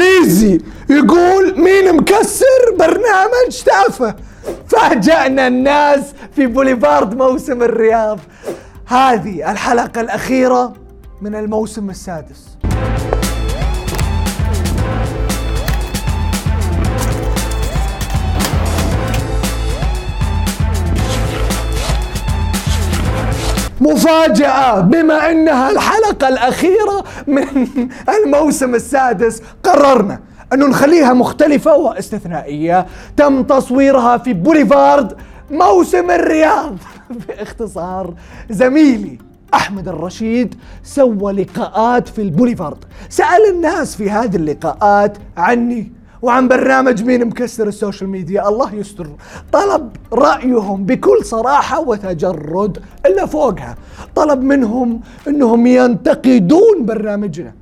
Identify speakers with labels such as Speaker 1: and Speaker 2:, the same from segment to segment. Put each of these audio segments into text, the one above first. Speaker 1: ليزي يقول مين مكسر برنامج تافه فاجأنا الناس في بوليفارد موسم الرياض هذه الحلقة الأخيرة من الموسم السادس مفاجأة بما انها الحلقة الأخيرة من الموسم السادس قررنا انه نخليها مختلفة واستثنائية تم تصويرها في بوليفارد موسم الرياض باختصار زميلي احمد الرشيد سوى لقاءات في البوليفارد سأل الناس في هذه اللقاءات عني وعن برنامج مين مكسر السوشيال ميديا الله يستر طلب رأيهم بكل صراحة وتجرد إلا فوقها طلب منهم أنهم ينتقدون برنامجنا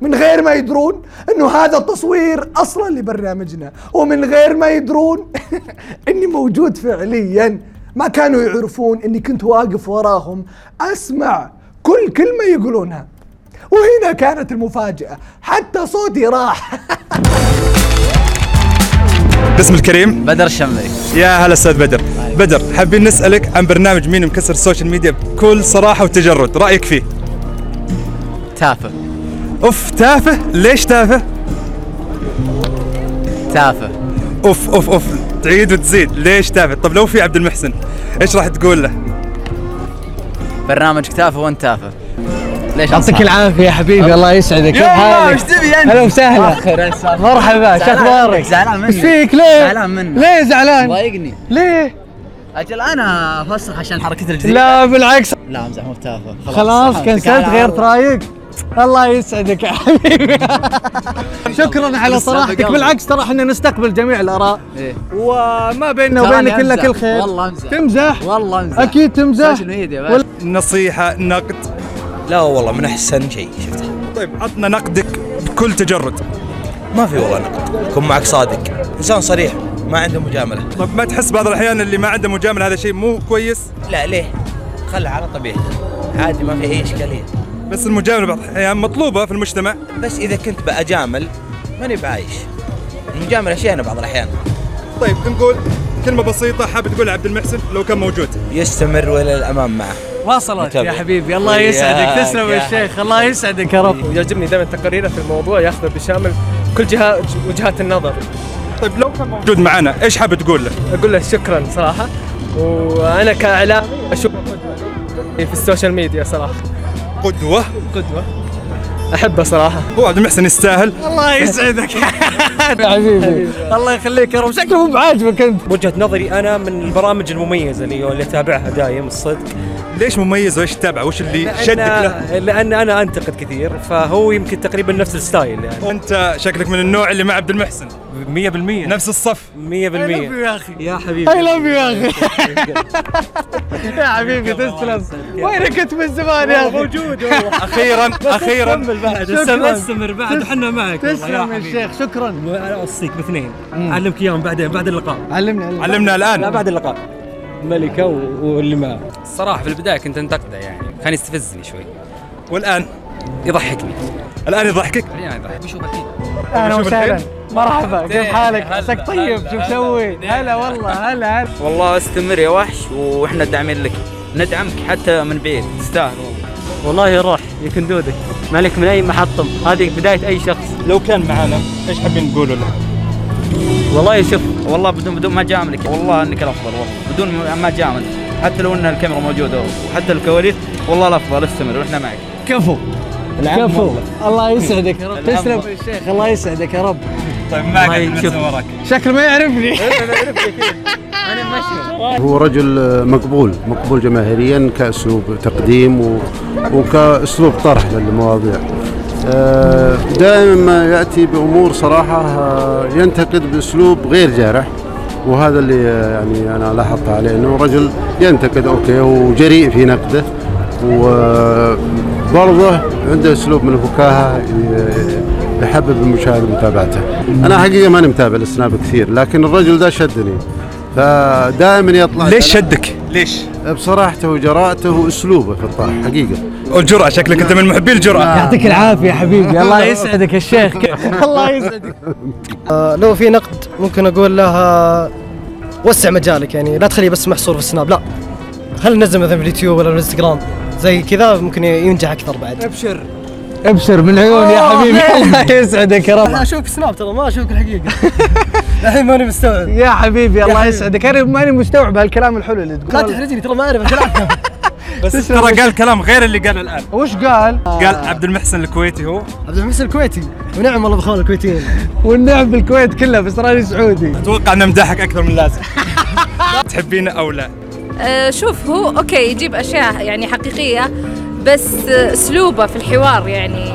Speaker 1: من غير ما يدرون انه هذا التصوير اصلا لبرنامجنا ومن غير ما يدرون اني موجود فعليا ما كانوا يعرفون اني كنت واقف وراهم اسمع كل كلمه يقولونها وهنا كانت المفاجاه حتى صوتي راح
Speaker 2: باسم الكريم
Speaker 3: بدر الشمري
Speaker 2: يا هلا استاذ بدر بدر حابين نسالك عن برنامج مين مكسر السوشيال ميديا بكل صراحه وتجرد رايك فيه
Speaker 3: تافه
Speaker 2: اوف تافه ليش تافه
Speaker 3: تافه
Speaker 2: اوف اوف اوف تعيد وتزيد ليش تافه طب لو في عبد المحسن ايش راح تقول له
Speaker 3: برنامج تافه وانت تافه ليش
Speaker 4: يعطيك العافية يا حبيبي الله يسعدك كيف
Speaker 3: يلا
Speaker 4: حالك؟
Speaker 3: وش تبي آه، انت؟
Speaker 4: هلا وسهلا.
Speaker 3: آخر، إيش صار؟
Speaker 4: مرحبا شو
Speaker 3: زعلان منك،
Speaker 4: اخبارك؟
Speaker 3: زعلان منك
Speaker 4: ايش فيك ليه؟
Speaker 3: زعلان منك
Speaker 4: ليه إيه، زعلان؟
Speaker 3: ضايقني
Speaker 4: ليه؟
Speaker 3: اجل انا افسخ عشان حركتي الجديده
Speaker 4: لا بالعكس
Speaker 3: لا امزح مو بتافه
Speaker 4: خلاص
Speaker 3: صح،
Speaker 4: كنسلت
Speaker 3: تعال،
Speaker 4: غيرت
Speaker 3: عوض.
Speaker 4: رايك الله يسعدك يا حبيبي شكرا على صراحتك
Speaker 3: قلبي.
Speaker 4: بالعكس ترى احنا نستقبل جميع الاراء
Speaker 3: إيه.
Speaker 4: وما بيننا
Speaker 3: تراني
Speaker 4: وبينك الا
Speaker 3: أمزح.
Speaker 4: كل خير
Speaker 3: والله امزح
Speaker 4: تمزح؟
Speaker 3: والله امزح
Speaker 4: اكيد تمزح
Speaker 3: سوشيال ميديا
Speaker 4: ولا-
Speaker 3: بعد.
Speaker 2: نصيحه نقد
Speaker 5: لا والله من احسن شيء شفته
Speaker 2: طيب عطنا نقدك بكل تجرد
Speaker 5: ما في والله نقد كن معك صادق انسان صريح ما عنده مجامله
Speaker 2: طب ما تحس بعض الاحيان اللي ما عنده مجامله هذا شيء مو كويس
Speaker 5: لا ليه خلها على طبيعته عادي ما في اي اشكاليه
Speaker 2: بس المجامله بعض الاحيان مطلوبه في المجتمع
Speaker 5: بس اذا كنت بأجامل ماني بعايش المجامله شيء انا بعض الاحيان
Speaker 2: طيب نقول كلمه بسيطه حاب تقول عبد المحسن لو كان موجود
Speaker 5: يستمر ولا الامام معه
Speaker 4: وصلت
Speaker 5: متابع.
Speaker 4: يا حبيبي الله يسعدك
Speaker 5: وياك
Speaker 4: تسلم
Speaker 5: يا
Speaker 4: يا شيخ الله يسعدك يا رب
Speaker 6: يعجبني دائما تقاريره في الموضوع ياخذه بشامل كل جهات وجهات النظر
Speaker 2: طيب لو كان موجود معنا ايش حاب تقول له
Speaker 6: اقول له شكرا صراحه وانا كاعلامي اشوف في السوشيال ميديا صراحه
Speaker 2: قدوه
Speaker 6: قدوه احبه صراحه
Speaker 2: هو عبد المحسن يستاهل
Speaker 4: الله يسعدك يا حبيبي الله يخليك يا رب شكله مو بعاجبك انت
Speaker 7: وجهة نظري أنا من البرامج المميزة اللي اللي أتابعها دايم الصدق
Speaker 2: ليش مميز وايش تتابع وش اللي شدك له
Speaker 7: لأن, لأن أنا أنتقد كثير فهو يمكن تقريبا نفس الستايل يعني
Speaker 2: انت شكلك من النوع اللي مع عبد المحسن
Speaker 7: 100%
Speaker 2: نفس الصف
Speaker 7: 100%
Speaker 4: يا اخي
Speaker 7: يا
Speaker 4: اي
Speaker 7: حبيبي
Speaker 4: لاف يو يا اخي يا حبيبي تسلم وينك انت من زمان يا اخي
Speaker 7: موجود والله
Speaker 2: اخيرا اخيرا
Speaker 7: بعد
Speaker 4: شكراً.
Speaker 7: استمر بعد احنا معك والله
Speaker 4: تسلم يا
Speaker 7: يا حبيبي
Speaker 4: شيخ شكرا
Speaker 7: انا اوصيك باثنين اعلمك اياهم بعدين بعد اللقاء
Speaker 4: علمني علمني
Speaker 2: علمنا
Speaker 7: لا
Speaker 2: الان
Speaker 7: بعد اللقاء ملكه و- واللي معه
Speaker 8: الصراحة في البداية كنت انتقده يعني كان يستفزني شوي
Speaker 2: والان
Speaker 8: يضحكني
Speaker 2: الان يضحكك
Speaker 8: يعني يضحك بشوف اكيد
Speaker 4: اهلا
Speaker 2: شوف
Speaker 4: وسهلا
Speaker 2: الحين.
Speaker 4: مرحبا كيف
Speaker 8: إيه،
Speaker 4: حالك
Speaker 8: هلا،
Speaker 4: عساك طيب
Speaker 8: هلا،
Speaker 4: شو
Speaker 8: هلا،
Speaker 4: مسوي هلا والله هلا هلا
Speaker 3: والله استمر يا وحش واحنا داعمين لك ندعمك حتى من بعيد تستاهل والله
Speaker 7: والله روح يكن دودك مالك من اي محطم هذه بدايه اي شخص
Speaker 2: لو كان معنا ايش حابين نقول له
Speaker 7: والله شوف
Speaker 3: والله بدون بدون ما جاملك والله انك الافضل والله بدون ما جامل حتى لو ان الكاميرا موجوده وحتى الكواليس والله الافضل استمر واحنا معك
Speaker 4: كفو كفو الله يسعدك يا رب
Speaker 3: العم
Speaker 4: تسلم
Speaker 3: والله.
Speaker 4: يا شيخ الله يسعدك يا رب
Speaker 2: طيب معك عبد المحسن وراك
Speaker 4: شكله ما يعرفني
Speaker 9: هو رجل مقبول مقبول جماهيريا كأسلوب تقديم و... وكأسلوب طرح للمواضيع آه، دائما ما يأتي بأمور صراحة آه، ينتقد بأسلوب غير جارح وهذا اللي آه، يعني أنا لاحظت عليه أنه رجل ينتقد أوكي وجريء في نقده وبرضه عنده أسلوب من الفكاهة ي- يحبب المشاهد متابعته أنا حقيقة ماني متابع السناب كثير لكن الرجل ده شدني فدائما يطلع
Speaker 2: ليش شدك؟ ليش؟
Speaker 9: بصراحته وجراءته واسلوبه في الطرح حقيقه
Speaker 2: الجرأة شكلك انت من محبي الجرأة
Speaker 1: يعطيك العافيه حبيبي الله يسعدك يا شيخ
Speaker 4: الله يسعدك
Speaker 10: آه، لو في نقد ممكن اقول لها وسع مجالك يعني لا تخليه بس محصور في السناب لا خلينا ننزل مثلا في اليوتيوب ولا الانستغرام زي كذا ممكن ينجح اكثر بعد آه،
Speaker 4: ابشر
Speaker 1: ابشر من عيوني يا حبيبي الله يسعدك يا رب
Speaker 10: انا اشوفك سناب ترى ما اشوفك الحقيقه الحين ماني مستوعب
Speaker 1: يا حبيبي الله يسعدك انا ماني مستوعب هالكلام الحلو اللي
Speaker 10: لا
Speaker 1: تقول
Speaker 10: تحرجني ترى ما اعرف الكلام
Speaker 2: بس ترى قال كلام غير اللي قاله الان
Speaker 1: وش قال
Speaker 2: قال عبد المحسن الكويتي هو
Speaker 10: عبد المحسن الكويتي ونعم والله بخوان الكويتيين
Speaker 1: والنعم بالكويت كلها بس راني سعودي
Speaker 2: اتوقع انه مداحك اكثر من لازم تحبينه او لا
Speaker 11: آه، شوف هو اوكي يجيب اشياء يعني حقيقيه بس آه، اسلوبه في الحوار يعني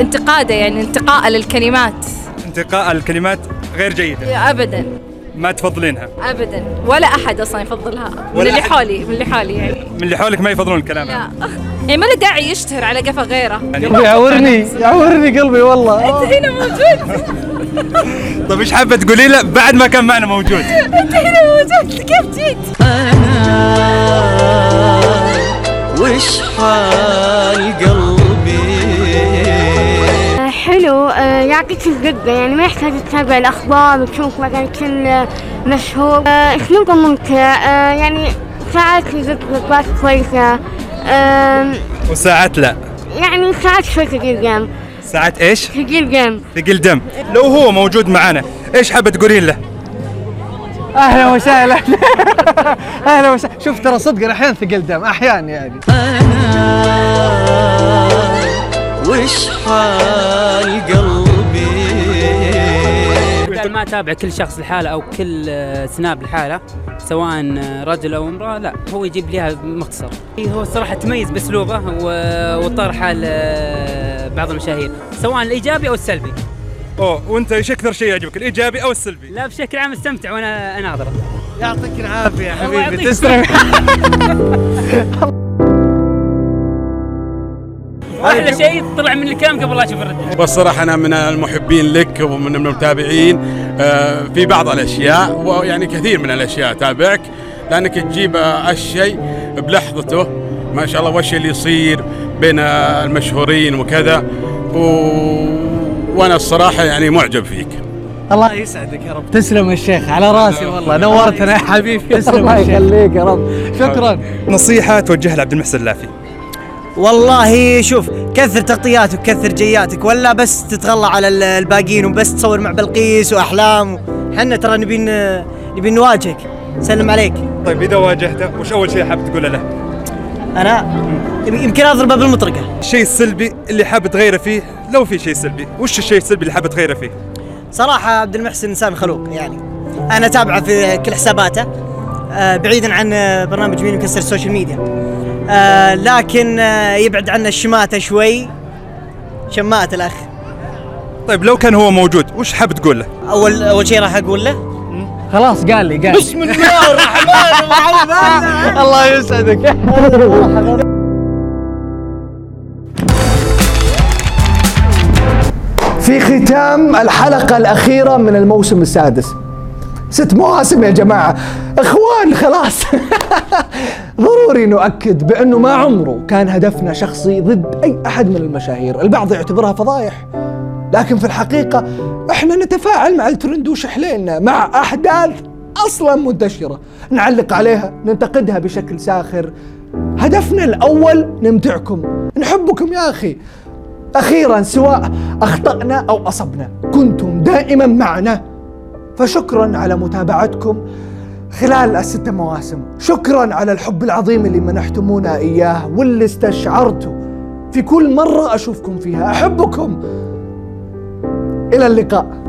Speaker 11: انتقاده يعني انتقاء للكلمات
Speaker 2: انتقاء الكلمات غير جيدة
Speaker 11: ابدا
Speaker 2: ما تفضلينها
Speaker 11: ابدا ولا احد اصلا يفضلها من
Speaker 2: ولا
Speaker 11: اللي
Speaker 2: أحد؟
Speaker 11: حولي من اللي حولي يعني
Speaker 2: من اللي حولك ما يفضلون الكلام يعني
Speaker 11: لا يعني ما له داعي يشتهر على قفا غيره
Speaker 1: قلبي يعورني يعورني قلبي والله
Speaker 11: انت هنا موجود
Speaker 2: طيب ايش حابة تقولي له بعد ما كان معنا موجود
Speaker 11: انت هنا موجود كيف جيت؟
Speaker 8: وش حال قلبي
Speaker 12: حلو آه، يعطيك الدقة يعني ما يحتاج تتابع الأخبار وتشوف مثلا كل مشهور آه، أسلوبه ممتع آه، يعني ساعات يجيب لقطات كويسة آم،
Speaker 2: وساعات لا
Speaker 12: يعني ساعات شوي ثقيل جيم
Speaker 2: ساعات ايش؟
Speaker 12: ثقيل جيم
Speaker 2: ثقيل دم لو هو موجود معنا ايش حابة تقولين له؟
Speaker 1: اهلا وسهلا اهلا وسهلا شوف ترى صدق احيانا ثقل دم احيانا يعني
Speaker 8: وش حال قلبي
Speaker 7: بدل ما اتابع كل شخص لحاله او كل آه، سناب لحاله سواء آه، رجل او امراه لا هو يجيب لها مختصر إيه، هو الصراحه تميز باسلوبه و- وطرحه لبعض المشاهير سواء الايجابي او السلبي
Speaker 2: اوه وانت ايش اكثر شيء يعجبك الايجابي او السلبي؟
Speaker 7: لا بشكل عام استمتع وانا اناظره
Speaker 4: يعطيك العافيه يا
Speaker 7: الله
Speaker 4: حبيبي
Speaker 7: يعطيك
Speaker 4: تسلم
Speaker 7: احلى شيء طلع من الكلام قبل لا اشوف الرد
Speaker 13: والصراحة أنا من المحبين لك ومن المتابعين آه، في بعض الأشياء ويعني كثير من الأشياء تابعك لأنك تجيب آه، الشيء بلحظته ما شاء الله وش اللي يصير بين آه، المشهورين وكذا و... وأنا الصراحة يعني معجب فيك
Speaker 1: الله يسعدك يا رب تسلم يا شيخ على راسي والله نورتنا يا حبيبي تسلم
Speaker 4: الله
Speaker 1: يا شيخ يخليك يا رب شكرا
Speaker 2: نصيحة توجهها لعبد المحسن اللافي
Speaker 14: والله شوف كثر تغطياتك وكثر جياتك ولا بس تتغلى على ال- الباقيين وبس تصور مع بلقيس واحلام حنا ترى نبي ن- نبي نواجهك سلم عليك
Speaker 2: طيب اذا واجهته وش اول شيء حاب تقوله له؟
Speaker 14: انا يمكن اضربه بالمطرقه
Speaker 2: الشيء السلبي اللي حاب تغيره فيه لو في شيء سلبي وش الشيء السلبي اللي حاب تغيره فيه؟
Speaker 14: صراحه عبد المحسن انسان خلوق يعني انا اتابعه في كل حساباته آه، بعيدا عن آه، برنامج مين مكسر السوشيال ميديا آه، لكن آه، يبعد عنا الشماته شوي شمات الاخ
Speaker 2: طيب لو كان هو موجود وش حاب تقول له؟
Speaker 14: اول اول شيء راح اقول له
Speaker 1: خلاص قال لي قال
Speaker 14: بسم الله الرحمن الرحيم
Speaker 1: الله يسعدك في ختام الحلقة الأخيرة من الموسم السادس ست مواسم يا جماعة إخوان خلاص ضروري نؤكد بأنه ما عمره كان هدفنا شخصي ضد أي أحد من المشاهير البعض يعتبرها فضايح لكن في الحقيقة احنا نتفاعل مع الترند وشحليلنا مع أحداث أصلا منتشرة نعلق عليها ننتقدها بشكل ساخر هدفنا الأول نمتعكم نحبكم يا أخي أخيرا سواء أخطأنا أو أصبنا كنتم دائما معنا فشكرا على متابعتكم خلال الست مواسم شكرا على الحب العظيم اللي منحتمونا إياه واللي استشعرته في كل مرة أشوفكم فيها أحبكم إلى اللقاء